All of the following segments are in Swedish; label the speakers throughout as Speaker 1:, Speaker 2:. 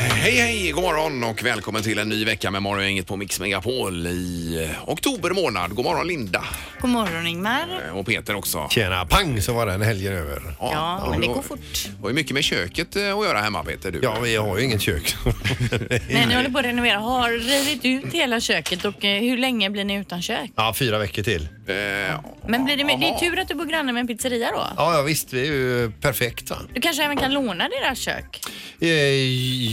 Speaker 1: Hej, god morgon och välkommen till en ny vecka med Morgongänget på Mix Megapol i eh, oktober månad. God morgon Linda
Speaker 2: God morgon Ingmar.
Speaker 1: Eh, och Peter också.
Speaker 3: Tjena, pang så var den helgen över.
Speaker 2: Ja,
Speaker 1: och
Speaker 2: men
Speaker 1: du
Speaker 2: det
Speaker 1: har-
Speaker 2: går fort.
Speaker 1: har ju mycket med köket eh, att göra hemma Peter. Du.
Speaker 3: Ja, vi har ju inget kök.
Speaker 2: Men ni håller på att renovera. Har rivit ut hela köket och eh, hur länge blir ni utan kök?
Speaker 3: ja, fyra veckor till.
Speaker 1: Eh,
Speaker 2: Men blir det, med, det är
Speaker 1: Jaha.
Speaker 2: tur att du bor granne med en pizzeria då.
Speaker 3: Ja, ja visst, vi är ju perfekta.
Speaker 2: Du kanske även kan låna deras kök?
Speaker 3: Eh,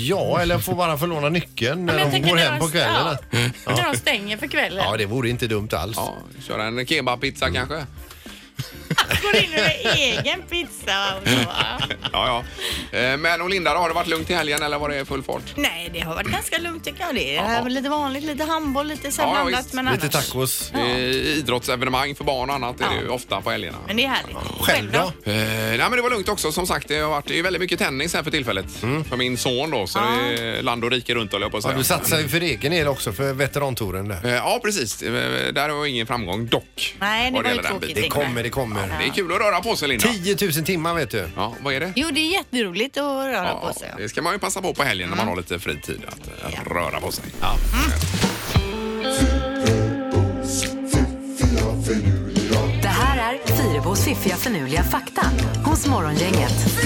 Speaker 3: ja, eller jag får bara förlåna nyckeln när
Speaker 2: Men jag
Speaker 3: de
Speaker 2: tänker
Speaker 3: går
Speaker 2: när
Speaker 3: hem
Speaker 2: de-
Speaker 3: på kvällen.
Speaker 2: Ja, När de stänger för kvällen.
Speaker 3: Ja, det vore inte dumt alls.
Speaker 1: ja, köra en kebabpizza
Speaker 3: Mm.
Speaker 1: kanske?
Speaker 2: Går in med egen pizza och så. va?
Speaker 1: Ja, ja. Eh, men och Linda, då, har det varit lugnt i helgen eller var det full fart?
Speaker 2: Nej, det har varit ganska lugnt tycker jag. Det
Speaker 1: Ja.
Speaker 2: är eh, lite vanligt, lite handboll, lite så
Speaker 1: Ja,
Speaker 2: här
Speaker 1: ja,
Speaker 2: blandat.
Speaker 1: visst.
Speaker 2: men
Speaker 3: Lite
Speaker 2: annars.
Speaker 3: tacos.
Speaker 1: Det är Eh, idrottsevenemang för barn och annat är det
Speaker 2: Ja.
Speaker 1: ju ofta på helgerna.
Speaker 2: Men det är härligt.
Speaker 3: Själv då?
Speaker 1: Eh, nej men det var lugnt också som sagt. Det har varit det är ju väldigt mycket tennis här för tillfället. För min son då så det är land och rike runt höll jag på att
Speaker 3: Mm. Ja,
Speaker 1: säga.
Speaker 3: du satsar ju för egen del också för veterantouren där.
Speaker 1: Eh, Ja, precis. Eh, Där var ingen framgång dock.
Speaker 2: Nej, det
Speaker 1: Vad
Speaker 2: var ju
Speaker 1: gäller den
Speaker 2: tråkigt.
Speaker 1: biten.
Speaker 3: Det kommer, det
Speaker 1: Ja, Det
Speaker 3: kommer.
Speaker 1: är kul att röra på sig, Linda.
Speaker 3: 10 000 timmar vet
Speaker 2: Alltså,
Speaker 3: du.
Speaker 1: Ja, vad är det?
Speaker 2: Jo, det är jätteroligt att röra
Speaker 1: Ja,
Speaker 2: på sig.
Speaker 1: det ska man ju passa på på helgen när man har lite fritid att eh, röra på sig.
Speaker 4: Det här är Fyrabos fiffiga förnuliga fakta hos Morgongänget.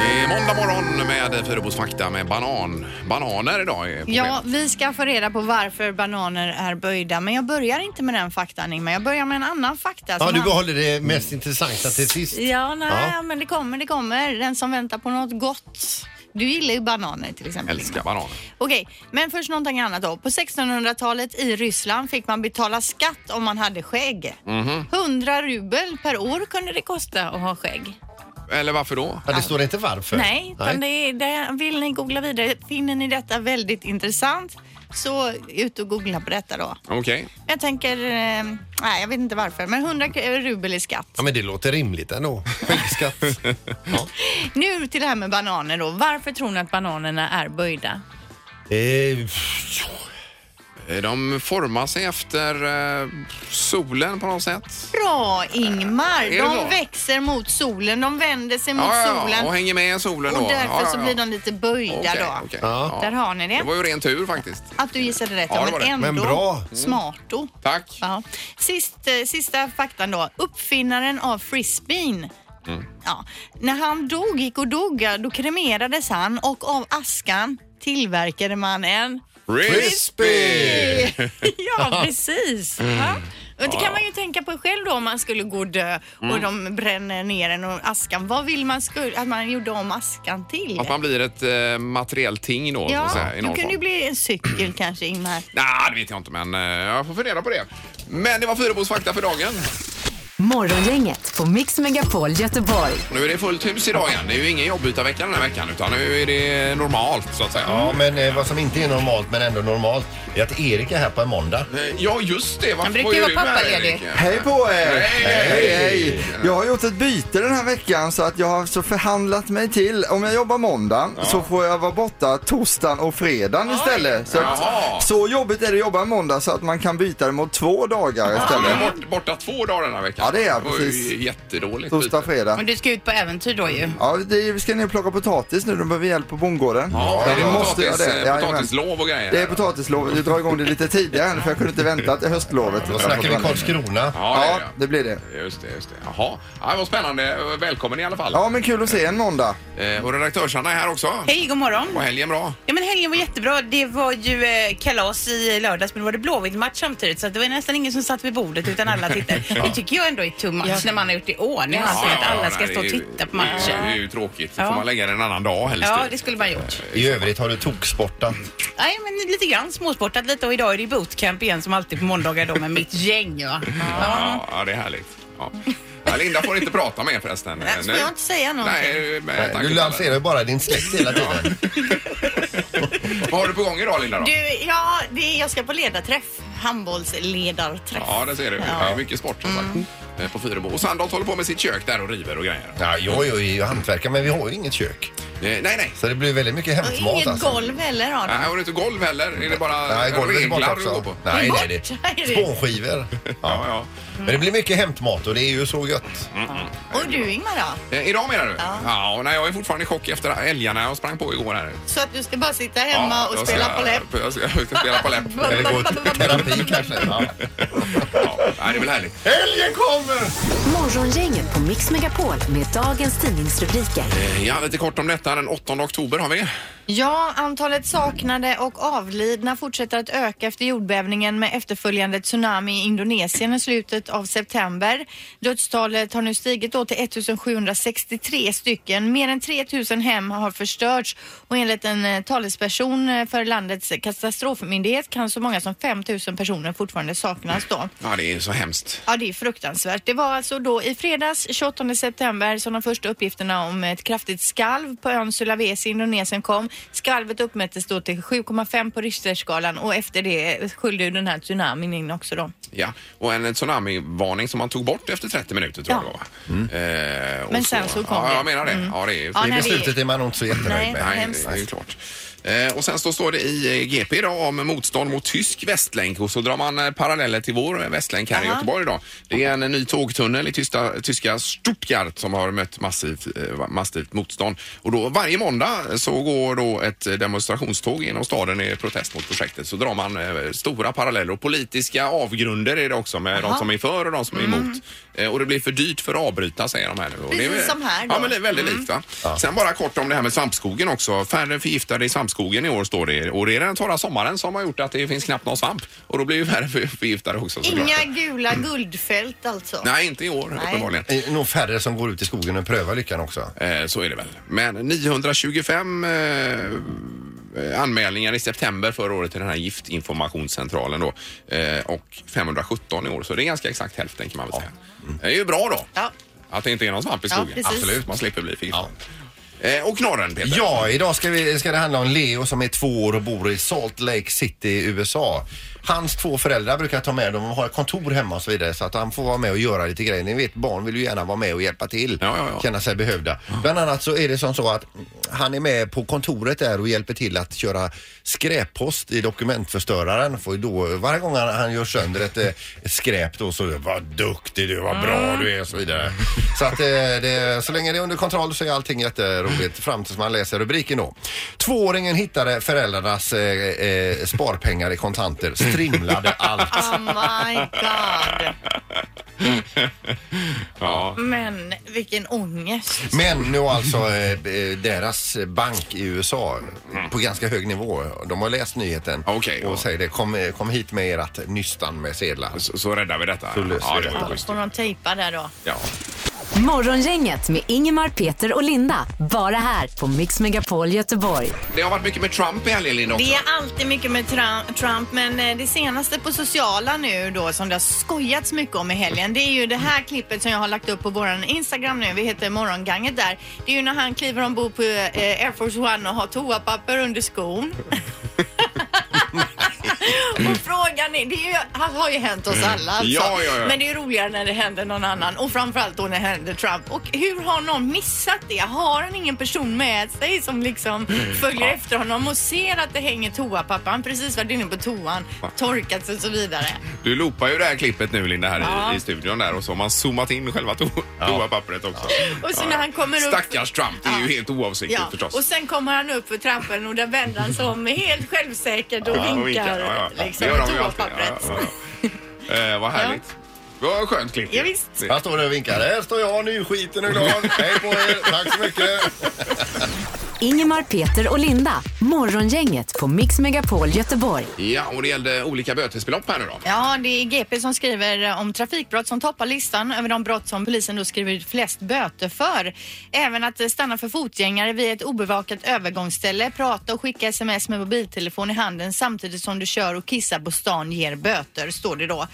Speaker 1: Det är måndag morgon med Fyrabos fakta med banan. Bananer idag är
Speaker 2: Ja,
Speaker 1: problemet.
Speaker 2: vi ska få reda på varför bananer är böjda. Men jag börjar inte med den faktan Ingmar. Jag börjar med en annan fakta. som
Speaker 3: Ja, du
Speaker 2: handlar-
Speaker 3: behåller det mest intressanta till sist.
Speaker 2: Ja, nej,
Speaker 3: Ja.
Speaker 2: men det kommer, det kommer. Den som väntar på något gott. Du gillar ju bananer till exempel.
Speaker 1: Älskar bananer.
Speaker 2: Okej, men först någonting annat då. På 1600-talet i Ryssland fick man betala skatt om man hade skägg.
Speaker 3: Mhm.
Speaker 2: 100 rubel per år kunde det kosta att ha skägg.
Speaker 1: Eller varför då?
Speaker 3: Ja, det står inte varför.
Speaker 2: Nej, utan Det, är- det, vill ni googla vidare, finner ni detta väldigt intressant så ut och googla på detta då.
Speaker 1: Okej.
Speaker 2: Jag tänker, eh, nej jag vet inte varför, men 100 rubel i skatt.
Speaker 3: Ja, men det låter rimligt ändå. Skäggskatt. ja.
Speaker 2: Nu till det här med bananer då. Varför tror ni att bananerna är böjda?
Speaker 3: Eh, pff,
Speaker 1: Eh, De formar sig efter eh, solen på något
Speaker 2: Mm,
Speaker 1: sätt.
Speaker 2: Bra
Speaker 1: Eh, Är det
Speaker 2: Ingmar!
Speaker 1: så?
Speaker 2: De växer mot solen, de vänder sig mot
Speaker 1: Ja, ja, ja,
Speaker 2: solen
Speaker 1: och hänger med solen då.
Speaker 2: och därför
Speaker 1: ja, ja, ja.
Speaker 2: så blir de lite böjda
Speaker 1: Okej,
Speaker 2: då.
Speaker 1: okej.
Speaker 3: Ja.
Speaker 2: Där har ni det.
Speaker 1: Det var ju ren tur faktiskt.
Speaker 2: Att du gissade rätt,
Speaker 1: Ja,
Speaker 2: ja,
Speaker 1: det var
Speaker 2: men
Speaker 1: det. Mm.
Speaker 2: ändå
Speaker 3: Men bra.
Speaker 2: smart då.
Speaker 1: Tack.
Speaker 2: Ja. Sist, eh, sista faktan då. Uppfinnaren av frisbeen.
Speaker 1: Mm.
Speaker 2: Ja. När han dog, gick och dog, ja, då kremerades han och av askan tillverkade man en...
Speaker 1: Frisbee!
Speaker 2: ja, precis.
Speaker 1: Mm.
Speaker 2: Ja. Och det kan man ju tänka på själv då om man skulle gå och dö och
Speaker 1: Mm.
Speaker 2: de bränner ner en och askan. Vad vill man skulle, att man gjorde om askan till?
Speaker 1: Att man blir ett eh, materiellt ting då. så
Speaker 2: ja,
Speaker 1: att säga, i
Speaker 2: du
Speaker 1: någon
Speaker 2: kunde ju
Speaker 1: form.
Speaker 2: bli en cykel kanske, Ingmar.
Speaker 1: Nej, det vet jag inte, men eh, jag får fundera på det. Men det var Fyrabos fakta för dagen.
Speaker 4: Morgongänget på Mix Megapol Göteborg.
Speaker 1: Nu är det fullt hus idag igen. Det är ju ingen jobbytarvecka den här veckan, utan nu är det normalt så att säga.
Speaker 3: Ja, men eh, vad som inte är normalt, men ändå normalt, är att Erik är här på en måndag.
Speaker 1: Eh, Ja, just det. Varför
Speaker 2: Han brukar
Speaker 1: var
Speaker 2: ju
Speaker 1: du
Speaker 2: vara
Speaker 1: med,
Speaker 2: pappaledig.
Speaker 1: Erik?
Speaker 5: Hej på er!
Speaker 1: Hej, hej, hej.
Speaker 5: Jag har gjort ett byte den här veckan så att jag har så förhandlat mig till, om jag jobbar måndag så får jag vara borta torsdagen och fredagen istället. Så, att-
Speaker 1: Jaha.
Speaker 5: så jobbigt är det att jobba måndag så att man kan byta det mot två dagar
Speaker 1: Du
Speaker 5: istället.
Speaker 1: är bort, borta två dagar den här veckan.
Speaker 5: Ja, det är jag,
Speaker 1: var ju
Speaker 5: precis.
Speaker 1: Jättedåligt.
Speaker 5: Torsdag, fredag.
Speaker 2: Men du ska ut på äventyr då ju.
Speaker 5: Ja, det är, ska ni plocka potatis nu, de behöver hjälp på bondgården.
Speaker 1: Ja,
Speaker 5: Men
Speaker 1: det
Speaker 5: vi
Speaker 1: är
Speaker 5: måste göra
Speaker 1: potatis,
Speaker 5: det.
Speaker 1: eh,
Speaker 5: Jajamän.
Speaker 1: potatislov och grejer.
Speaker 5: Det är potatislov, vi drar igång det lite tidigare än, för jag kunde inte vänta till höstlovet.
Speaker 3: Då snackar vi Karlskrona.
Speaker 1: Ja, det
Speaker 5: Ja,
Speaker 1: är det.
Speaker 5: det blir det.
Speaker 1: Just det, just det. Jaha. Ja, vad spännande. Välkommen i alla fall.
Speaker 5: Ja, men kul att se en måndag.
Speaker 1: Eh, och redaktörsarna är här också.
Speaker 6: Hej, god morgon.
Speaker 1: Var helgen bra?
Speaker 6: Ja, men helgen var jättebra. Det var ju eh, kalas i lördags, men då var det Blåvitt-match samtidigt så att det var nästan ingen som satt vid bordet utan alla tittade. Det tycker jag ändå är too much när man har gjort det i ordning. Alltså att alla ska
Speaker 1: nej,
Speaker 6: stå och
Speaker 1: det är ju-
Speaker 6: titta på
Speaker 1: Det är
Speaker 6: matchen.
Speaker 1: ju tråkigt. Då får
Speaker 6: Ja.
Speaker 1: man lägga den en annan dag helst. typ.
Speaker 6: Ja,
Speaker 1: ju.
Speaker 6: det skulle man ha gjort.
Speaker 3: I övrigt har du toksportat.
Speaker 6: Nej, men lite grann småsportat lite och idag är det bootcamp igen som alltid på måndagar då med mitt gäng. Ja. Ja.
Speaker 1: Ja, ja, det är härligt. Ja. Ja, Linda får inte prata med förresten.
Speaker 2: Nej, får jag inte säga någonting?
Speaker 1: Nej, med tanke
Speaker 3: Eh, Du
Speaker 1: på
Speaker 3: lanserar ju bara din släkt hela tiden.
Speaker 1: alla. Vad har du på gång idag Linda då?
Speaker 2: Du, ja, det, är- jag ska på ledarträff. Handbollsledarträff.
Speaker 1: Ja, det ser du. Det är mycket sport som sagt. Eh, På Fyrebo. Och Sandholt håller på med sitt kök där och river och grejer.
Speaker 3: Ja, jag är ju hantverkare, men vi har ju inget kök.
Speaker 1: Eh, nej, nej.
Speaker 3: Så det blir väldigt mycket
Speaker 2: Och
Speaker 3: hämtmat
Speaker 2: inget
Speaker 3: alltså.
Speaker 2: golv heller Adam.
Speaker 1: Nej, har du inte golv heller? Är det bara
Speaker 3: Nej, golvet är borta
Speaker 1: reglar du går
Speaker 3: också.
Speaker 1: på?
Speaker 3: Nej, nej, det
Speaker 2: Borta är
Speaker 3: är
Speaker 2: det.
Speaker 3: spånskivor.
Speaker 1: Ja, ja.
Speaker 3: Men det blir mycket hämtmat och det är ju så gött.
Speaker 2: Och du Ingmar då?
Speaker 1: Eh, idag menar du? Ja. och nej, jag är fortfarande i chock efter älgarna jag sprang på igår här.
Speaker 2: Så att du ska bara sitta hemma och spela på läpp?
Speaker 1: Jag ska, jag ska spela på läpp.
Speaker 3: Eller gå till terapi kanske. Ja.
Speaker 1: ja, nej, det är väl härligt.
Speaker 3: Helgen kommer!
Speaker 4: Morgongänget på Mix Megapol med dagens tidningsrubriker.
Speaker 1: Eh, Ja, lite kort om detta. Den 8 oktober har vi.
Speaker 2: Ja, antalet saknade och avlidna fortsätter att öka efter jordbävningen med efterföljande tsunami i Indonesien i slutet av september. Dödstalet har nu stigit då till 1763 stycken. Mer än 3000 hem har förstörts och enligt en eh, talesperson eh, för landets katastrofmyndighet kan så många som 5000 personer fortfarande saknas då.
Speaker 1: Ja, det är så hemskt.
Speaker 2: Ja, det är fruktansvärt. Det var alltså då i fredags 28 september som de första uppgifterna om ett kraftigt skalv på ön Sulawesi i Indonesien kom. Skalvet uppmättes då till 7,5 på Richterskalan och efter det skyllde ju den här tsunamin in också då.
Speaker 1: Ja, och en tsunamivarning som man tog bort efter 30 minuter tror
Speaker 2: Ja. Mm.
Speaker 1: jag det var. Eh, och
Speaker 2: Men sen så kom
Speaker 1: ja,
Speaker 2: det. Mm.
Speaker 1: jag menar det. Ja, det är
Speaker 2: Ja,
Speaker 3: I
Speaker 2: nej, det-
Speaker 3: beslutet är man nog inte så jättenöjd
Speaker 2: Nej.
Speaker 3: med.
Speaker 1: Nej,
Speaker 2: Hemskt.
Speaker 1: det är ju klart. Eh, och sen så står det i eh, GP idag om motstånd mot tysk västlänk och så drar man eh, paralleller till vår västlänk här i
Speaker 2: Jaha.
Speaker 1: Göteborg idag. Det är en eh, ny tågtunnel i tysta, tyska Stuttgart som har mött massivt, eh, massivt motstånd. Och då varje måndag eh, så går då ett eh, demonstrationståg genom staden i protest mot projektet. Så drar man eh, stora paralleller och politiska avgrunder är det också med de som är för och de som är emot. Eh, och det blir för dyrt för att avbryta säger de här nu. Och det är,
Speaker 2: Mm. Precis som här då.
Speaker 1: Ja, men det är väldigt
Speaker 2: Mm.
Speaker 1: likt va. Sen bara kort om det här med svampskogen också. Färre förgiftade i svampskogen i år står det. Och det är den torra sommaren som har gjort att det finns knappt någon svamp. Och då blir ju färre för- förgiftade också såklart.
Speaker 2: Inga gula guldfält alltså.
Speaker 1: Nej, inte i år uppenbarligen.
Speaker 3: Det är Eh, nog färre som går ut i skogen och prövar lyckan också.
Speaker 1: Eh, så är det väl. Men 925 eh, anmälningar i september förra året till den här giftinformationscentralen då. Eh, och 517 i år, så det är ganska exakt hälften kan man väl säga. Det är ju bra då.
Speaker 2: Ja.
Speaker 1: Att det inte är någon svamp i
Speaker 2: Ja,
Speaker 1: skogen.
Speaker 2: precis.
Speaker 1: Absolut. Man slipper bli förgiftad. Eh, och knorren Peter.
Speaker 3: Ja, idag ska, vi, ska det handla om Leo som är två år och bor i Salt Lake City i USA. Hans två föräldrar brukar ta med dem och ha kontor hemma och så vidare så att han får vara med och göra lite grejer. Ni vet, barn vill ju gärna vara med och hjälpa till.
Speaker 1: Ja, ja, ja.
Speaker 3: Känna sig behövda. Bland annat så är det som så att han är med på kontoret där och hjälper till att köra skräppost i dokumentförstöraren. Får ju då, varje gång han, han gör sönder ett, eh, ett skräp då så vad duktig du vad bra du är och så vidare. Så att eh, det, så länge det är under kontroll så är allting jätteroligt fram tills man läser rubriken då. Tvååringen hittade föräldrarnas eh, eh, sparpengar i kontanter, strimlade allt.
Speaker 2: Oh my god.
Speaker 1: Ja.
Speaker 2: Men vilken ångest.
Speaker 3: Men nu har alltså eh, eh, deras bank i USA på ganska hög nivå. De har läst nyheten
Speaker 1: Okej,
Speaker 3: och
Speaker 1: ja.
Speaker 3: säger det. Kom, eh, kom hit med ert nystan med sedlar.
Speaker 1: Så, så räddar vi detta.
Speaker 3: Så löser
Speaker 1: ja,
Speaker 3: vi
Speaker 1: det var
Speaker 3: detta.
Speaker 1: ju schysst.
Speaker 2: Får de tejpa där då?
Speaker 1: Ja.
Speaker 4: Morgongänget med Ingemar, Peter och Linda. Bara här på Mix Megapol Göteborg.
Speaker 1: Det har varit mycket med Trump i helgen Linda också.
Speaker 2: Det är alltid mycket med Tra- Trump men eh, det senaste på sociala nu då som det har skojats mycket om i helgen det är ju det här klippet som jag har lagt upp på våran Instagram nu. Vi heter Morgonganget där. Det är ju när han kliver ombord på eh, Air Force One och har toapapper under skon. och frågan är, det är ju, han har ju hänt oss alla alltså.
Speaker 1: Mm. Ja, ja, ja.
Speaker 2: Men det är roligare när det händer någon annan och framförallt då när det händer Trump. Och hur har någon missat det? Har han ingen person med sig som liksom
Speaker 1: Mm.
Speaker 2: följer efter honom och ser att det hänger toapapper? Han har precis varit inne på toan, torkat sig och så vidare.
Speaker 1: Du loopar ju det här klippet nu Linda här
Speaker 2: Ja.
Speaker 1: i, i studion där och så har man zoomat in själva to toapappret också.
Speaker 2: Och så när han kommer upp-
Speaker 1: Stackars Trump, det är
Speaker 2: Ja.
Speaker 1: ju helt oavsiktligt
Speaker 2: Ja,
Speaker 1: förstås.
Speaker 2: och sen kommer han upp för trappen och där vänder han sig om helt självsäkert och
Speaker 1: Ja,
Speaker 2: vinkar.
Speaker 1: och ja, ja.
Speaker 2: Liksom,
Speaker 1: det gör de ju alltid.
Speaker 2: toapappret.
Speaker 1: Ja, ja, ja. Eh, vad härligt. Vad skönt klipp.
Speaker 2: Ja, visst.
Speaker 1: Det-
Speaker 3: Han står där och vinkar. Här står jag nyskiten och glad. Hej på er. Tack så mycket.
Speaker 4: Ingemar, Peter och Linda. Morgongänget på Mix Megapol Göteborg.
Speaker 1: Ja, och det gällde olika bötesbelopp här nu då.
Speaker 2: Ja, det är GP som skriver om trafikbrott som toppar listan över de brott som polisen då skriver ut flest böter för. Även att stanna för fotgängare vid ett obevakat övergångsställe, prata och skicka sms med mobiltelefon i handen samtidigt som du kör och kissar på stan ger böter, står det då.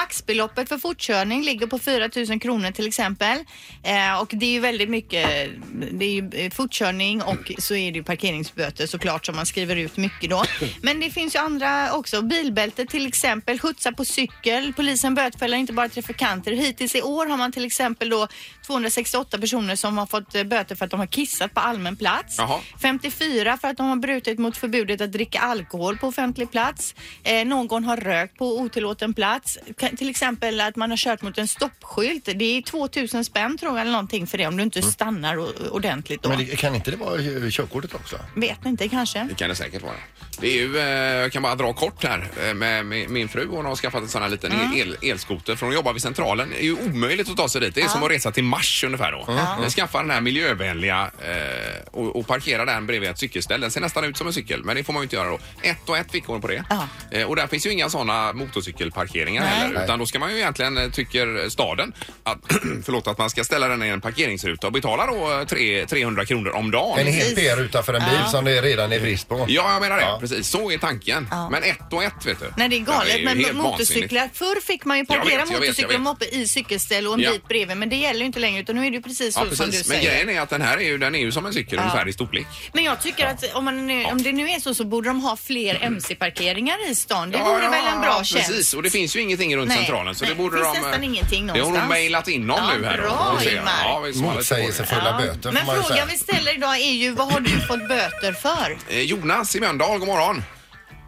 Speaker 2: Maxbeloppet för fortkörning ligger på 4 000 kronor till exempel. Eh, och det är ju väldigt mycket, det är ju eh, fortkörning och och så är det ju parkeringsböter såklart som man skriver ut mycket då. Men det finns ju andra också. Bilbälte till exempel, skjutsa på cykel, polisen bötfäller inte bara trafikanter. Hittills i år har man till exempel då 268 personer som har fått eh, böter för att de har kissat på allmän plats.
Speaker 1: Jaha.
Speaker 2: 54 för att de har brutit mot förbudet att dricka alkohol på offentlig plats. Eh, någon har rökt på otillåten plats. Ka- till exempel att man har kört mot en stoppskylt. Det är 2000 spänn tror jag eller någonting för det om du
Speaker 1: Mm.
Speaker 2: inte stannar o- ordentligt då.
Speaker 3: Men det, kan inte det vara eh, körkortet också?
Speaker 2: Vet inte kanske.
Speaker 1: Det kan det säkert vara. Det är ju, eh, jag kan bara dra kort här eh, med, med min fru. Hon har skaffat en sån här liten
Speaker 2: Mm.
Speaker 1: el, elskoter för hon jobbar vid Centralen. Det är ju omöjligt att ta sig dit. Det är som att resa till Mars ungefär då. Den skaffar den här miljövänliga eh, och, och parkerar den bredvid ett cykelställ. Den ser nästan ut som en cykel men det får man ju inte göra då. Ett och ett fick hon på det.
Speaker 2: Ja.
Speaker 1: Eh, och där finns ju inga såna motorcykelparkeringar
Speaker 2: Nej.
Speaker 1: heller. Utan då ska man ju egentligen, eh, tycker staden, att, förlåt, att man ska ställa den i en parkeringsruta och betala då eh, tre, 300 kronor om dagen.
Speaker 3: En hel PR-ruta för en bil som det redan är brist på.
Speaker 1: Ja, jag menar det.
Speaker 3: Ja.
Speaker 1: Precis, så är tanken.
Speaker 2: Ja.
Speaker 1: Men ett och ett, vet du.
Speaker 2: Nej, det är galet.
Speaker 1: ju
Speaker 2: men
Speaker 1: helt vansinnigt.
Speaker 2: motorcyklar, förr fick man ju
Speaker 1: Jag vet,
Speaker 2: parkera
Speaker 1: jag vet, jag
Speaker 2: motorcyklar
Speaker 1: vet.
Speaker 2: och moppe i cykelställ och en
Speaker 1: Ja.
Speaker 2: bit bredvid. Men det gäller ju inte längre utan nu är det ju precis så
Speaker 1: Ja,
Speaker 2: som du
Speaker 1: precis. Men
Speaker 2: säger.
Speaker 1: grejen är att den här är ju, den är ju som en cykel
Speaker 2: Ja.
Speaker 1: ungefär i storlek.
Speaker 2: Men jag tycker att om, man nu, om det nu är så så borde de ha fler MC-parkeringar i stan. Det
Speaker 1: Ja,
Speaker 2: vore
Speaker 1: ja,
Speaker 2: väl en bra
Speaker 1: ja, Precis,
Speaker 2: tjänst?
Speaker 1: och det finns ju ingenting runt
Speaker 2: Nej,
Speaker 1: centralen. Så
Speaker 2: nej,
Speaker 1: det borde
Speaker 2: det
Speaker 1: de... eh,
Speaker 2: finns nästan ingenting
Speaker 1: Det har de
Speaker 2: någonstans.
Speaker 1: mejlat in någon
Speaker 2: Ja,
Speaker 1: nu här.
Speaker 2: bra,
Speaker 1: Och se-
Speaker 2: Ingmar.
Speaker 1: Ja, visst, man har lite på
Speaker 3: Motsägelsefulla böter får
Speaker 2: Men
Speaker 3: man ju
Speaker 2: frågan
Speaker 3: säga.
Speaker 2: vi ställer idag är ju vad har du fått böter för?
Speaker 1: det. Eh, Jonas i Mölndal, god morgon.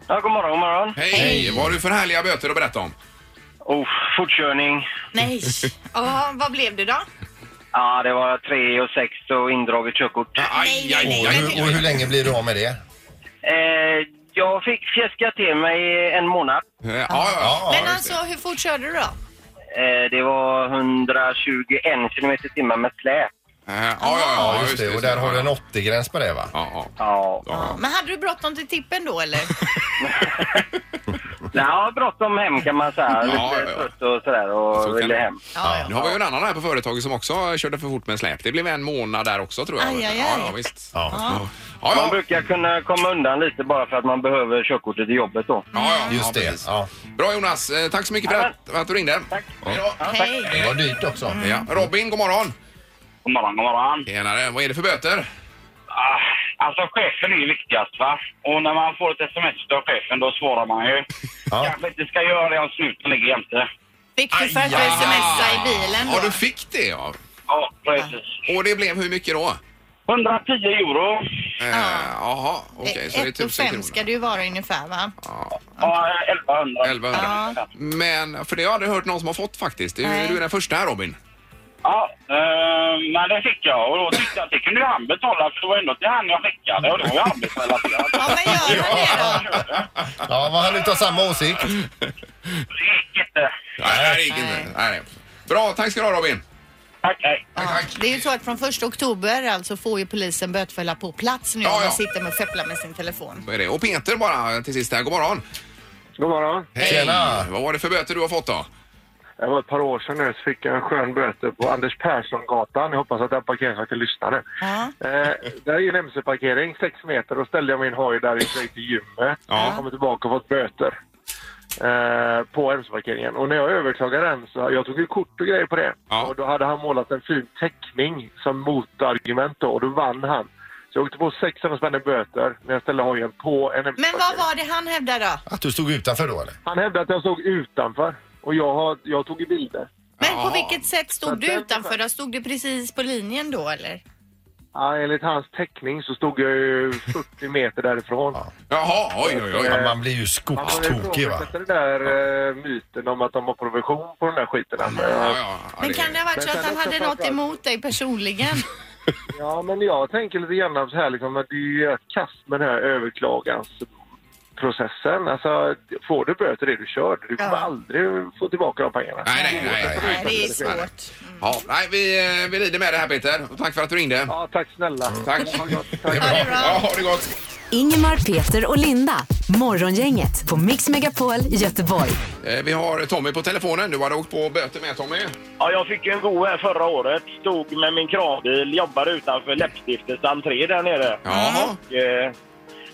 Speaker 7: Ja, god morgon, god morgon.
Speaker 1: Hej. Vad har du för härliga böter att berätta om?
Speaker 7: Oh, fortkörning.
Speaker 2: Nej. Ja, vad blev det då?
Speaker 7: Ja, det var tre och sex och indraget körkort.
Speaker 1: Aj, aj,
Speaker 2: nej,
Speaker 1: aj,
Speaker 3: Och
Speaker 2: nej.
Speaker 1: aj.
Speaker 3: hur, och hur länge blir du av med det?
Speaker 7: Eh, jag fick fjäska till mig en månad.
Speaker 1: Eh, Ja, ja, ja.
Speaker 2: Men
Speaker 1: just
Speaker 2: alltså hur fort körde du då?
Speaker 7: Eh, det var 121 kilometer i timmen med släp.
Speaker 1: det. Eh, Ja, ja, ja.
Speaker 3: Ja, just det. Och där har du en
Speaker 1: Ja,
Speaker 3: 80-gräns på det va?
Speaker 1: ja.
Speaker 7: Ja,
Speaker 1: ja.
Speaker 2: Men hade du bråttom till tippen då eller?
Speaker 7: det var bråttom hem kan man säga.
Speaker 1: Ja,
Speaker 7: Lite
Speaker 1: ja, ja.
Speaker 7: trött och sådär och
Speaker 1: Så kan
Speaker 7: ville
Speaker 1: det.
Speaker 7: hem.
Speaker 2: Ja,
Speaker 1: Nu
Speaker 2: ja.
Speaker 1: har vi ju en annan här på företaget som också körde för fort med släp. Det blev en månad där också tror jag.
Speaker 2: Aj, aj, aj.
Speaker 1: Ja, ja, visst.
Speaker 3: Ja.
Speaker 1: Ja, ja.
Speaker 7: Man brukar kunna komma undan lite bara för att man behöver körkortet i jobbet då.
Speaker 1: Ja, ja,
Speaker 3: Mm. Just
Speaker 1: ja,
Speaker 3: det.
Speaker 1: precis.
Speaker 3: Ja.
Speaker 1: Bra Jonas, Eh, tack så mycket för
Speaker 7: Ja,
Speaker 1: att, för att du ringde.
Speaker 7: Tack.
Speaker 1: Hej då.
Speaker 2: Hej.
Speaker 3: Det var dyrt också.
Speaker 1: Ja. Robin, god morgon.
Speaker 7: God morgon, god morgon.
Speaker 1: Tjenare, vad är det för böter?
Speaker 7: Ah, Alltså chefen är ju viktigast va? Och när man får ett sms av chefen då svarar man ju.
Speaker 3: Ja.
Speaker 7: Kanske inte ska göra det om snuten ligger jämte.
Speaker 2: Fick du för att du smsade i bilen
Speaker 1: Ja, du
Speaker 2: då?
Speaker 1: fick det ja.
Speaker 7: Ja, precis.
Speaker 1: Och det blev hur mycket då?
Speaker 7: 110 euro.
Speaker 1: Eh, Jaha, okej. så det är
Speaker 2: Ett och
Speaker 1: 1000
Speaker 2: fem ska
Speaker 1: kronor.
Speaker 2: det ju vara ungefär va?
Speaker 7: Ja, 1100.
Speaker 1: 1100.
Speaker 2: Ja.
Speaker 1: Men, för det har jag aldrig hört någon som har fått faktiskt. Du,
Speaker 2: Nej.
Speaker 1: du är den första här Robin.
Speaker 7: Ja, eh, men det fick jag. Och då tyckte jag att det kunde ju han betala för det var ändå till han jag skickade. Och det var ju arbetsrelaterat.
Speaker 2: Ja men gör man det då?
Speaker 3: Ja, vad han utav samma åsikt.
Speaker 7: Det gick inte.
Speaker 1: Nej, det gick inte. Nej. Bra, tack ska du ha Robin.
Speaker 7: Tack, hej.
Speaker 2: Ja, det är ju så att från 1 oktober alltså får ju polisen bötfälla på plats nu
Speaker 1: Ja,
Speaker 2: om
Speaker 1: ja.
Speaker 2: man sitter med och fepplar med sin telefon.
Speaker 1: Vad är det? Och Peter bara till sist här, god morgon.
Speaker 8: God morgon.
Speaker 1: Hej.
Speaker 3: Tjena.
Speaker 1: Vad var det för böter du har fått då?
Speaker 8: Det var ett par år sedan nu så fick jag en skön böter på Anders Persson-gatan. Jag hoppas att den parkeringsvakten lyssnade.
Speaker 2: Ja.
Speaker 8: Eh, där är ju en MC-parkering, sex meter. Då ställde jag min hoj där i väg till gymmet.
Speaker 1: Ja.
Speaker 8: Jag kommer tillbaka och fått böter eh, på MC-parkeringen. Och när jag överklagade den så jag tog ju kort och grejer på det.
Speaker 1: Ja.
Speaker 8: Och då hade han målat en fin teckning som motargument då och då vann han. Så jag åkte på 600 spänn i böter när jag ställde hojen på en MC-parkering.
Speaker 2: Men vad var det han hävdade då?
Speaker 3: Att du stod utanför då eller?
Speaker 8: Han hävdade att jag stod utanför och jag, har, jag tog i bilder.
Speaker 2: Men
Speaker 1: Jaha.
Speaker 2: på vilket sätt stod
Speaker 8: Men
Speaker 2: du
Speaker 8: den-
Speaker 2: utanför? Då stod du precis på linjen då eller?
Speaker 8: Ja, enligt hans teckning så stod jag ju 40 meter därifrån.
Speaker 1: Jaha, oj oj oj.
Speaker 3: Ja, man blir ju
Speaker 8: Man får ju
Speaker 3: skogstokig Ah, va?
Speaker 8: ifrågasätta den där eh, myten om att de har provision på den där skiten. alltså.
Speaker 1: Ja,
Speaker 8: Ja,
Speaker 1: ja, ja,
Speaker 2: Men
Speaker 1: det-
Speaker 2: kan det ha varit
Speaker 8: Men
Speaker 2: så att
Speaker 8: sen
Speaker 2: han
Speaker 8: också
Speaker 2: hade något
Speaker 8: framförallt-
Speaker 2: emot dig personligen?
Speaker 8: ja, men jag tänker lite grann så här liksom att det är ju ett kast med den här överklagansprocessen. Alltså, får du böter är du körd. Du kommer
Speaker 2: Ja.
Speaker 8: aldrig få tillbaka de pengarna.
Speaker 1: Nej, nej, nej.
Speaker 2: Nej, det är
Speaker 1: Nej.
Speaker 2: svårt.
Speaker 1: Ja, nej, vi, eh, vi lider med det här Peter. Och tack för att du ringde.
Speaker 8: Ja, tack snälla.
Speaker 1: Tack.
Speaker 8: Tack.
Speaker 2: Ja, det är bra.
Speaker 1: Ja, ha det gott.
Speaker 4: Ingemar, Peter och Linda. Morgongänget på Mix Megapol Göteborg.
Speaker 1: Eh, Vi har Tommy på telefonen. Du hade åkt på böter med Tommy.
Speaker 7: Ja, jag fick ju en god här förra året. Stod med min kranbil, jobbade utanför Läppstiftets entré där nere.
Speaker 1: Jaha.
Speaker 7: Och, eh,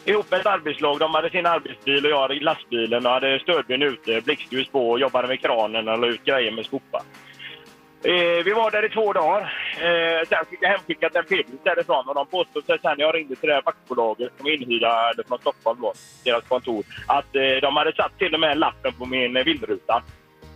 Speaker 7: ihop med ett arbetslag. De hade sin arbetsbil och jag hade lastbilen och hade stödben ute, blixtljus på och jobbade med kranen och la ut grejer med skopa. Eh, vi var där i två dagar. Eh, sen fick jag hemskickat en film därifrån och de påstod sig sen när jag ringde till det här vaktbolaget som var inhyrda eller från Stockholm då, deras kontor, att eh, de hade satt till och med lappen på min eh, vindruta.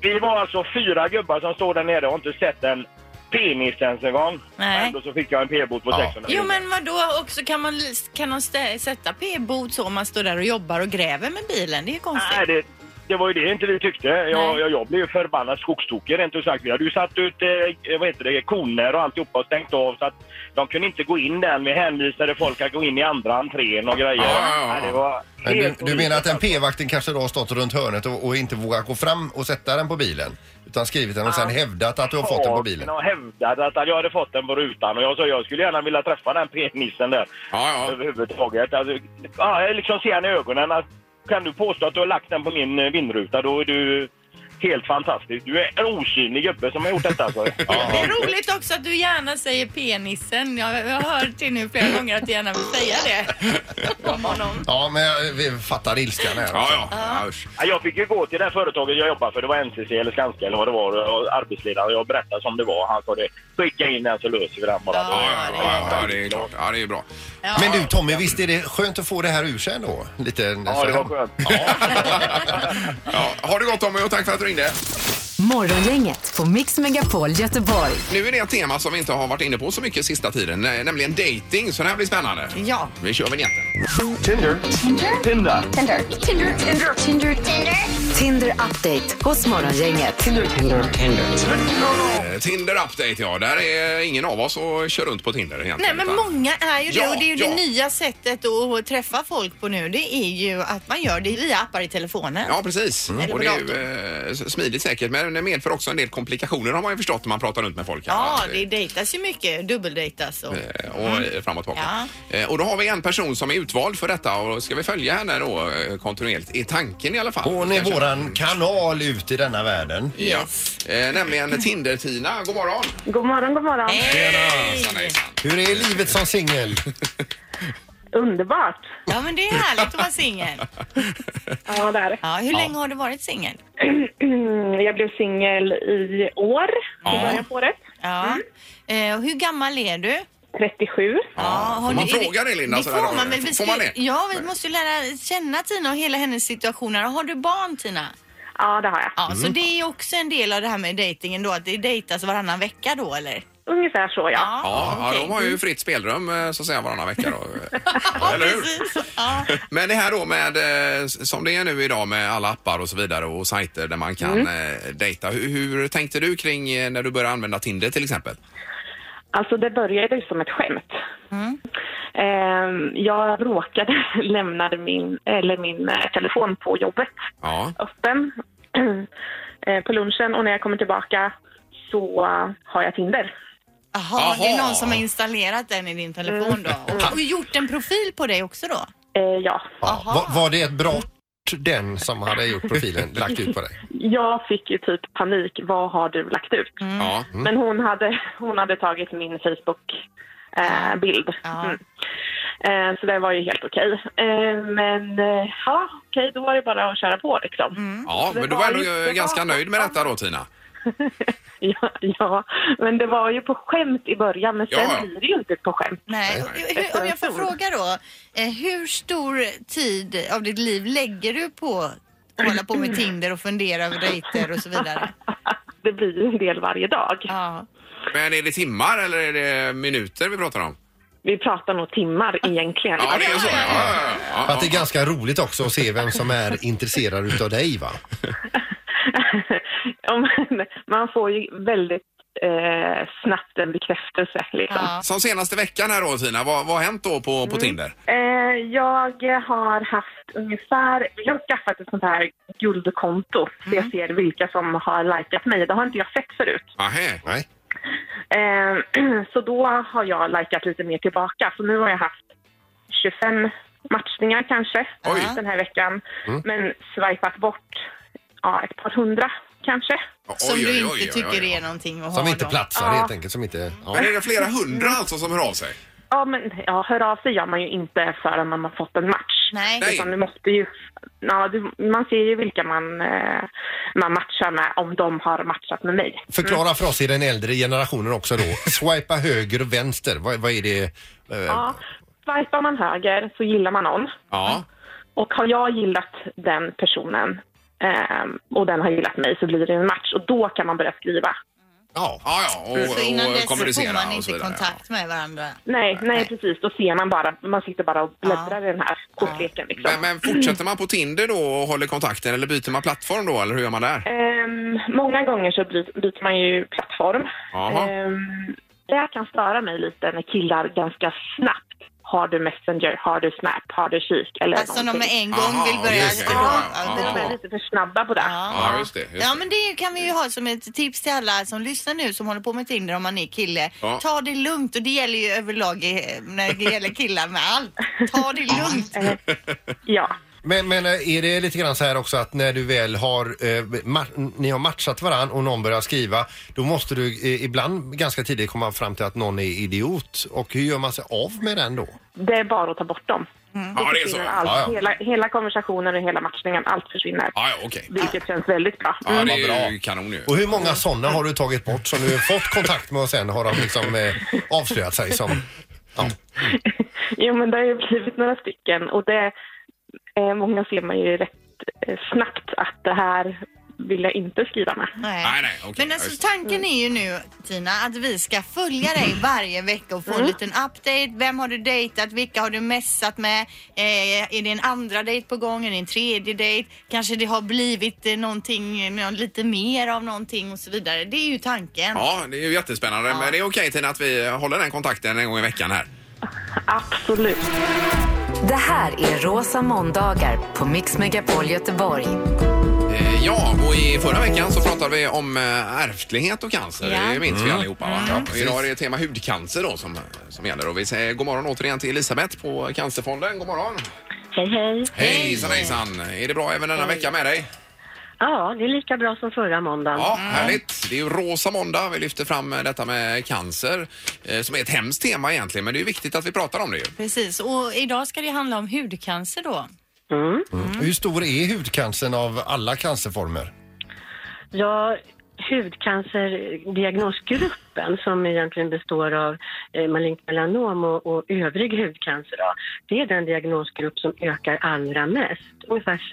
Speaker 7: Vi var alltså fyra gubbar som stod där nere och inte sett en penis ens en gång.
Speaker 2: Nej.
Speaker 7: Ändå så fick jag en p-bot på
Speaker 3: Ja.
Speaker 7: 600
Speaker 2: Jo
Speaker 7: kronor.
Speaker 2: men vadå också kan man, kan de stä- sätta p-bot så om man står där och jobbar och gräver med bilen? Det är ju
Speaker 3: Alltså.
Speaker 2: konstigt.
Speaker 7: Nej, det, det var ju det inte vi tyckte. Jag,
Speaker 2: Nej.
Speaker 7: jag, jag blev ju förbannad skogstokig rent ut sagt. Vi hade ju satt ut eh, vad heter det, koner och alltihopa och stängt av så att de kunde inte gå in där. Vi hänvisade folk att gå in i andra entrén och grejer.
Speaker 1: Ja, ja, ja.
Speaker 7: Nej, det var
Speaker 3: Men du,
Speaker 7: helt
Speaker 3: du menar att den
Speaker 7: orimligt.
Speaker 3: p-vakten kanske då har stått runt hörnet och, och inte vågat gå fram och sätta den på bilen? Utan skrivit den och sen hävdat att du har fått den på bilen?
Speaker 7: Och hävdade att jag hade fått den på rutan och jag sa jag skulle gärna vilja träffa den penissen där
Speaker 1: Ja, ja.
Speaker 7: överhuvudtaget. Alltså, ja, jag liksom ser han i ögonen att kan du påstå att du har lagt den på min eh, vindruta då är du helt fantastisk. Du är en osynlig gubbe som har gjort detta alltså.
Speaker 2: Det är roligt också att du gärna säger penissen. Jag, jag har hört det nu flera gånger att du gärna vill säga det om honom.
Speaker 3: Ja, men jag, vi fattar ilskan här.
Speaker 1: Ja, ja. ja. usch.
Speaker 7: Ja, Jag fick ju gå till det här företaget jag jobbar för. Det var NCC eller Skanska eller vad det var. Och arbetsledaren, jag berättade som det var. Han sa det. Skicka in den så löser vi den bara.
Speaker 1: Ja, ja, ja, ja, det är klart. Ja, det är bra.
Speaker 3: Men du Tommy, visst är det skönt att få det här ur sig ändå? Lite
Speaker 7: Ja, det var skönt.
Speaker 1: Ja, ha det gott Tommy och tack för att du ringde.
Speaker 4: Morgongänget på Mix Megapol Göteborg.
Speaker 1: Nu är det ett tema som vi inte har varit inne på så mycket sista tiden, nä- nämligen dating. Så det här blir spännande.
Speaker 2: Ja.
Speaker 1: Vi kör vignetten.
Speaker 4: Tinder update hos Morgongänget.
Speaker 1: Eh, Tinder update ja, där är ingen av oss och kör runt på Tinder
Speaker 2: Nej
Speaker 1: egentligen.
Speaker 2: men
Speaker 1: utan-
Speaker 2: många är ju det
Speaker 1: Ja,
Speaker 2: och det är ju
Speaker 1: ja.
Speaker 2: det nya sättet att träffa folk på nu. Det är ju att man gör det via appar i telefonen.
Speaker 1: Ja, precis.
Speaker 2: Eller
Speaker 1: Och
Speaker 2: på
Speaker 1: det är ju eh, smidigt säkert, men det medför också en del komplikationer har man ju förstått när man pratar runt med folk. här,
Speaker 2: Ja,
Speaker 1: va?
Speaker 2: det Mm. dejtas ju mycket, dubbeldejtas och...
Speaker 1: Eh, och eh, fram och tillbaka. Eh, Och då har vi en person som är utvald för detta och ska vi följa henne då eh, kontinuerligt, i tanken i alla fall.
Speaker 3: Hon är
Speaker 1: Kanske.
Speaker 3: våran kanal ut i denna världen.
Speaker 1: Ja.
Speaker 2: Yes.
Speaker 1: Eh, Nämligen Tinder-Tina, god morgon!
Speaker 9: God morgon, god
Speaker 2: Eh,
Speaker 9: morgon.
Speaker 2: Hej!
Speaker 1: Hejsan, hejsan.
Speaker 3: Hur är livet som singel?
Speaker 9: Underbart.
Speaker 2: Ja men det är härligt att vara singel.
Speaker 9: Ja, där.
Speaker 2: Ja, hur länge har du varit singel?
Speaker 9: Mm, Jag blev singel i år, i början på året.
Speaker 2: Ja. Eh, och hur gammal är du?
Speaker 9: 37.
Speaker 2: Ja, har
Speaker 1: Får man
Speaker 2: du- är
Speaker 1: fråga det, Linda,
Speaker 2: Det
Speaker 1: sådär
Speaker 2: får
Speaker 1: då?
Speaker 2: man väl. Vi
Speaker 1: Får man
Speaker 2: ska-
Speaker 1: det?
Speaker 2: Ja, vi måste ju lära känna Tina och hela hennes situation. här. Har du barn, Tina?
Speaker 9: Ja, det har jag.
Speaker 2: Ja, så
Speaker 1: Mm.
Speaker 2: det är ju också en del av det här med dejtingen då, att det dejtas varannan vecka då, eller?
Speaker 9: Ungefär så, ja.
Speaker 1: Ja, ja,
Speaker 2: okej.
Speaker 1: de har ju fritt spelrum eh, så att säga varannan vecka då. Eller hur?
Speaker 2: Precis. Ja.
Speaker 1: Men det här då med, eh, som det är nu idag med alla appar och så vidare och sajter där man kan
Speaker 2: Mm.
Speaker 1: eh, dejta. Hur, hur tänkte du kring eh, när du började använda Tinder till exempel?
Speaker 9: Alltså, det började ju som ett skämt. Ehm, Jag råkade lämna min, eller min eh, telefon på jobbet
Speaker 2: Mm.
Speaker 1: Ja,
Speaker 9: öppen eh, på lunchen och när jag kommer tillbaka så har jag Tinder.
Speaker 2: Jaha, det är
Speaker 1: Jaha.
Speaker 2: någon som har installerat den i din telefon då och, och gjort en profil på dig också då?
Speaker 9: Eh, Ja,
Speaker 3: Ja. Var, var det ett brott den som hade gjort profilen lagt ut på dig?
Speaker 9: jag fick ju typ panik. Vad har du lagt ut?
Speaker 1: ja.
Speaker 9: Men hon hade, hon hade tagit min Facebook-bild.
Speaker 2: Ja.
Speaker 9: mm. Eh, så det var ju helt okej. Eh, men eh, ja, okej, då var det bara att köra på liksom.
Speaker 2: Mm.
Speaker 1: ja
Speaker 9: Det
Speaker 1: men du
Speaker 9: var
Speaker 1: var ändå
Speaker 9: ju-
Speaker 1: eh,
Speaker 9: det
Speaker 1: ganska
Speaker 9: var-
Speaker 1: nöjd med detta då Tina?
Speaker 9: Ja, ja, men det var ju på skämt i början, men sen
Speaker 1: Ja, ja.
Speaker 9: blir det ju inte på skämt.
Speaker 2: Nej. Och hur- Om jag får fråga då, eh, hur stor tid av ditt liv lägger du på att hålla på med Tinder och fundera över dejter och så vidare?
Speaker 9: Det blir ju en del varje dag.
Speaker 2: Ja.
Speaker 1: Men är det timmar eller är det minuter vi pratar om?
Speaker 9: Vi pratar nog timmar egentligen.
Speaker 1: Ja, det är så. Ja, ja, ja.
Speaker 3: För att det är ganska roligt också att se vem som är intresserad utav dig va?
Speaker 9: Ja, men Man får ju väldigt eh, snabbt en bekräftelse liksom.
Speaker 2: Ja.
Speaker 1: Som senaste veckan här då Tina, vad, vad har hänt då på,
Speaker 2: Mm.
Speaker 1: på Tinder?
Speaker 9: Eh, jag har haft ungefär, jag har skaffat ett sånt här guldkonto så
Speaker 2: Mm.
Speaker 9: jag ser vilka som har likat mig. Det har inte jag sett förut.
Speaker 1: Ahä.
Speaker 3: Nej.
Speaker 9: Eh, så då har jag likat lite mer tillbaka. Så nu har jag haft 25 matchningar kanske
Speaker 1: Oj.
Speaker 9: den här veckan. Men swipat bort ja, ett par hundra kanske.
Speaker 2: Som
Speaker 1: Oj,
Speaker 2: du
Speaker 1: oj,
Speaker 2: inte
Speaker 1: oj, oj,
Speaker 2: tycker
Speaker 1: oj.
Speaker 2: är någonting att
Speaker 3: Som
Speaker 2: ha
Speaker 3: inte
Speaker 2: då.
Speaker 3: platsar helt enkelt. Som inte, ja.
Speaker 1: Men är det flera hundra alltså som hör av sig?
Speaker 9: Ja, men ja, hör av sig gör man ju inte förrän man har fått en match.
Speaker 2: Nej.
Speaker 1: Nej.
Speaker 9: Utan du måste ju ja, du, man ser ju vilka man, eh, man matchar med om de har matchat med mig.
Speaker 3: Förklara för oss i den äldre generationen också då. Swipa höger och vänster. Vad, vad är det? eh,
Speaker 9: Ja, swipar man höger så gillar man någon.
Speaker 1: Ja.
Speaker 9: Och har jag gillat den personen ehm, och den har gillat mig så blir det en match och då kan man börja skriva.
Speaker 3: Ja.
Speaker 1: Ja, ja, och,
Speaker 2: Så innan
Speaker 1: och
Speaker 2: dess så får
Speaker 1: kommunicera
Speaker 2: man
Speaker 1: och så
Speaker 2: inte
Speaker 1: vidare.
Speaker 2: kontakt med varandra.
Speaker 9: Nej, nej,
Speaker 2: Nej.
Speaker 9: precis. Då ser man bara, man sitter bara och bläddrar i den här kortleken
Speaker 1: Ja.
Speaker 9: liksom.
Speaker 1: Men, men fortsätter man på Tinder då och håller kontakten eller byter man plattform då eller hur gör man där?
Speaker 9: Ehm, många gånger så bry- byter man ju plattform.
Speaker 1: Jaha.
Speaker 9: Ehm, det här kan störa mig lite när killar ganska snabbt har du Messenger, har du Snap, har du Kik eller
Speaker 2: Alltså de
Speaker 9: någonting.
Speaker 2: med en gång
Speaker 1: Aha,
Speaker 2: vill börja
Speaker 1: just det.
Speaker 2: skriva.
Speaker 1: Ja,
Speaker 2: Ja,
Speaker 1: ja,
Speaker 9: De är
Speaker 2: det-
Speaker 9: lite för snabba på det.
Speaker 1: Ja, just det. Just
Speaker 2: Ja
Speaker 1: det.
Speaker 2: men det kan vi ju ha som ett tips till alla som lyssnar nu som håller på med Tinder om man är kille.
Speaker 1: Ja.
Speaker 2: Ta det lugnt och det gäller ju överlag i, när det gäller killar med allt. Ta det lugnt.
Speaker 9: Eh, ja.
Speaker 3: Men, men eh, är det lite grann så här också att när du väl har, eh, ma- ni har matchat varann och någon börjar skriva, då måste du eh, ibland ganska tidigt komma fram till att någon är idiot. Och hur gör man sig av med den då?
Speaker 9: Det är bara att ta bort dem.
Speaker 1: Ja, det är så.
Speaker 9: försvinner
Speaker 1: Ja,
Speaker 9: allt.
Speaker 3: Ja, ja.
Speaker 9: Hela, hela konversationen och hela matchningen, allt försvinner.
Speaker 1: ja okej.
Speaker 9: Vilket känns väldigt bra.
Speaker 1: Ja,
Speaker 9: Mm.
Speaker 1: det är ju kanon ju.
Speaker 3: Och hur många sådana har du tagit bort som du har fått kontakt med och sen har de liksom eh, avslöjat sig som? Ja.
Speaker 9: Jo, men det har ju blivit några stycken och det, eh, många ser man ju rätt eh, snabbt att det här vill jag inte skriva med.
Speaker 2: Nej.
Speaker 1: Nej, nej, okej.
Speaker 2: Men
Speaker 1: Ja, just Mm.
Speaker 2: alltså tanken är ju nu Tina att vi ska följa dig varje vecka och få en liten update. Vem har du dejtat? Vilka har du messat med? Eh, är det en andra dejt på gång? Är det en tredje dejt? Kanske det har blivit eh, någonting, eh, nå- lite mer av någonting och så vidare. Det är ju tanken.
Speaker 1: Ja, det är ju jättespännande. Men det är okej Tina att vi håller den kontakten en gång i veckan här.
Speaker 9: Absolut.
Speaker 4: Det här är Rosa måndagar på Mix Megapol Göteborg.
Speaker 1: Eh, Ja, och i förra veckan så pratade vi om eh, ärftlighet och cancer.
Speaker 2: Ja.
Speaker 1: Det minns vi allihopa. Va? Och idag är det tema hudcancer då som, som gäller. Och vi säger god morgon återigen till Elisabeth på Cancerfonden. God morgon!
Speaker 9: Hej, hej.
Speaker 1: Hejsan hejsan! Är det bra även denna vecka med dig?
Speaker 9: Ja, det är lika bra som förra måndagen.
Speaker 1: Ja,
Speaker 3: Mm.
Speaker 1: härligt. Det är ju rosa måndag. Vi lyfter fram eh, detta med cancer eh, som är ett hemskt tema egentligen. Men det är ju viktigt att vi pratar om det ju.
Speaker 2: Precis, och idag ska det handla om hudcancer då.
Speaker 3: Hur stor är hudcancern av alla cancerformer?
Speaker 9: Ja, hudcancerdiagnosgruppen som egentligen består av eh, malignt melanom och, och övrig hudcancer då, det är den diagnosgrupp som ökar allra mest. Ungefär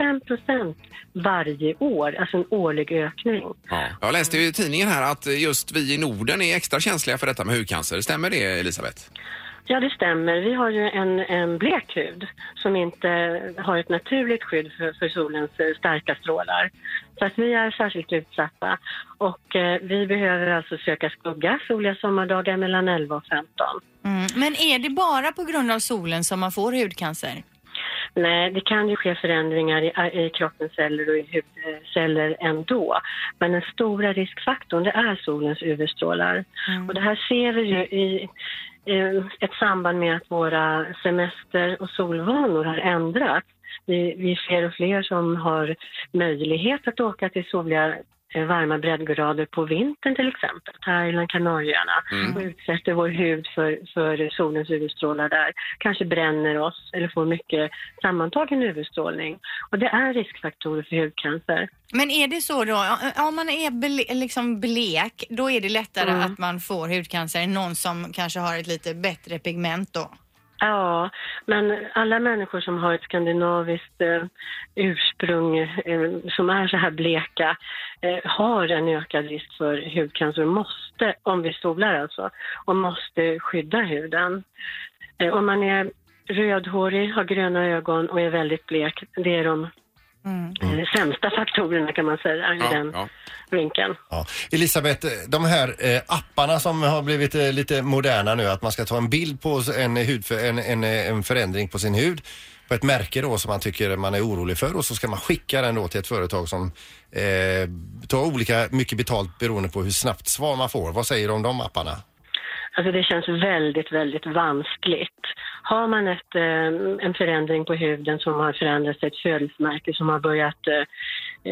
Speaker 9: 5 varje år, alltså en årlig ökning.
Speaker 1: Jag läste ju i tidningen här att eh, just vi i Norden är extra känsliga för detta med hudcancer. Stämmer det Elisabeth?
Speaker 9: Ja, det stämmer. Vi har ju en, en blek hud som inte har ett naturligt skydd för, för solens eh, starka strålar. Så att vi är särskilt utsatta. Och eh, vi behöver alltså söka skugga soliga sommardagar mellan 11 och 15.
Speaker 2: Mm. Men är det bara på grund av solen som man får hudcancer?
Speaker 9: Nej, det kan ju ske förändringar i, i kroppens celler och i hudceller ändå. Men den stora riskfaktorn det är solens UV-strålar. Och det här ser vi ju i eh, ett samband med att våra semester och solvanor har ändrats. Vi, vi är fler och fler som har möjlighet att åka till soliga eh, varma breddgrader på vintern till exempel, Thailand, Kanarieöarna och utsätter vår hud för, för solens UV-strålar där. Kanske bränner oss eller får mycket sammantagen UV-strålning. Och det är riskfaktorer för hudcancer.
Speaker 2: Men är det så då, om man är ble, liksom blek, då är det lättare att man får hudcancer än någon som kanske har ett lite bättre pigment då?
Speaker 9: Ja, men alla människor som har ett skandinaviskt eh, ursprung eh, som är så här bleka eh, har en ökad risk för hudcancer och måste, om vi solar alltså, och måste skydda huden. Eh, om man är rödhårig, har gröna ögon och är väldigt blek, det är de eh, sämsta faktorerna kan man säga i
Speaker 1: Ja,
Speaker 9: den
Speaker 1: ja.
Speaker 9: vinkeln.
Speaker 3: Ja. Elisabeth, de här eh, apparna som har blivit eh, lite moderna nu, att man ska ta en bild på en, hud, en, en, eh, en förändring på sin hud på ett märke då som man tycker man är orolig för och så ska man skicka den då till ett företag som eh, tar olika mycket betalt beroende på hur snabbt svar man får. Vad säger du om de apparna?
Speaker 9: Alltså det känns väldigt, väldigt vanskligt. Har man ett, eh, en förändring på huden som har förändrats, ett födelsemärke som har börjat eh,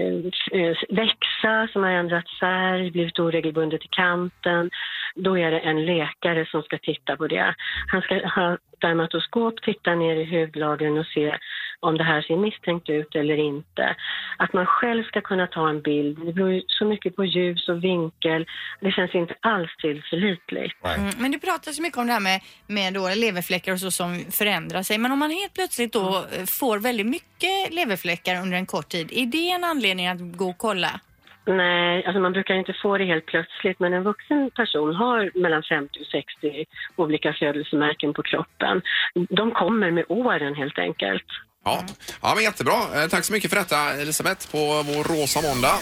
Speaker 9: eh, växa, som har ändrat färg, blivit oregelbundet i kanten, då är det en läkare som ska titta på det. Han ska ha dermatoskop, titta ner i hudlagren och se om det här ser misstänkt ut eller inte. Att man själv ska kunna ta en bild, det beror ju så mycket på ljus och vinkel. Det känns inte alls tillförlitligt.
Speaker 2: Mm, men det pratas ju mycket om det här med, med då leverfläckar och så som förändrar sig. Men om man helt plötsligt då eh, får väldigt mycket leverfläckar under en kort tid, är det en anledning att gå och kolla?
Speaker 9: Nej, alltså man brukar inte få det helt plötsligt men en vuxen person har mellan 50 och 60 olika födelsemärken på kroppen. De kommer med åren helt enkelt.
Speaker 1: Ja. ja, men jättebra. Eh, Tack så mycket för detta Elisabeth på vår rosa måndag.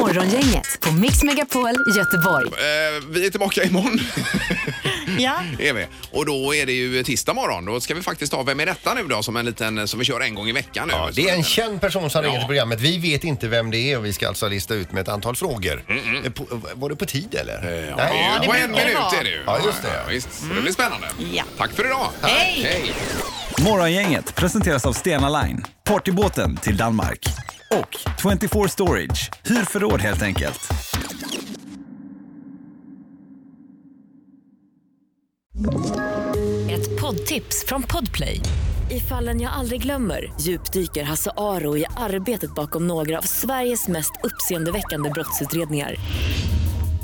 Speaker 4: Morgongänget på Mix Megapol Göteborg.
Speaker 1: Eh, Vi är tillbaka imorgon.
Speaker 2: Ja.
Speaker 1: är vi. Och då är det ju tisdag morgon. Då ska vi faktiskt ta Vem är detta nu då? Som en liten, som vi kör en gång i veckan nu.
Speaker 3: Ja, det är en känd person som ringer till programmet. Vi vet inte vem det är och vi ska alltså lista ut med ett antal frågor. Eh, På, var det på tid eller?
Speaker 1: Mm, Eh, Ja,
Speaker 3: Nej.
Speaker 1: det är ju
Speaker 2: det
Speaker 1: på
Speaker 2: brukar
Speaker 1: en
Speaker 2: det
Speaker 1: minut
Speaker 2: vara.
Speaker 1: är det ju.
Speaker 3: Ja, just det.
Speaker 1: Ja, visst. Så det blir spännande.
Speaker 2: Ja.
Speaker 1: Tack för idag.
Speaker 2: Hej!
Speaker 1: Hej.
Speaker 10: Morgongänget presenteras av Stena Line, partybåten till Danmark. Och 24 Storage, hyr förråd helt enkelt.
Speaker 4: Ett poddtips från Podplay. I fallen jag aldrig glömmer djupdyker Hasse Aro i arbetet bakom några av Sveriges mest uppseendeväckande brottsutredningar.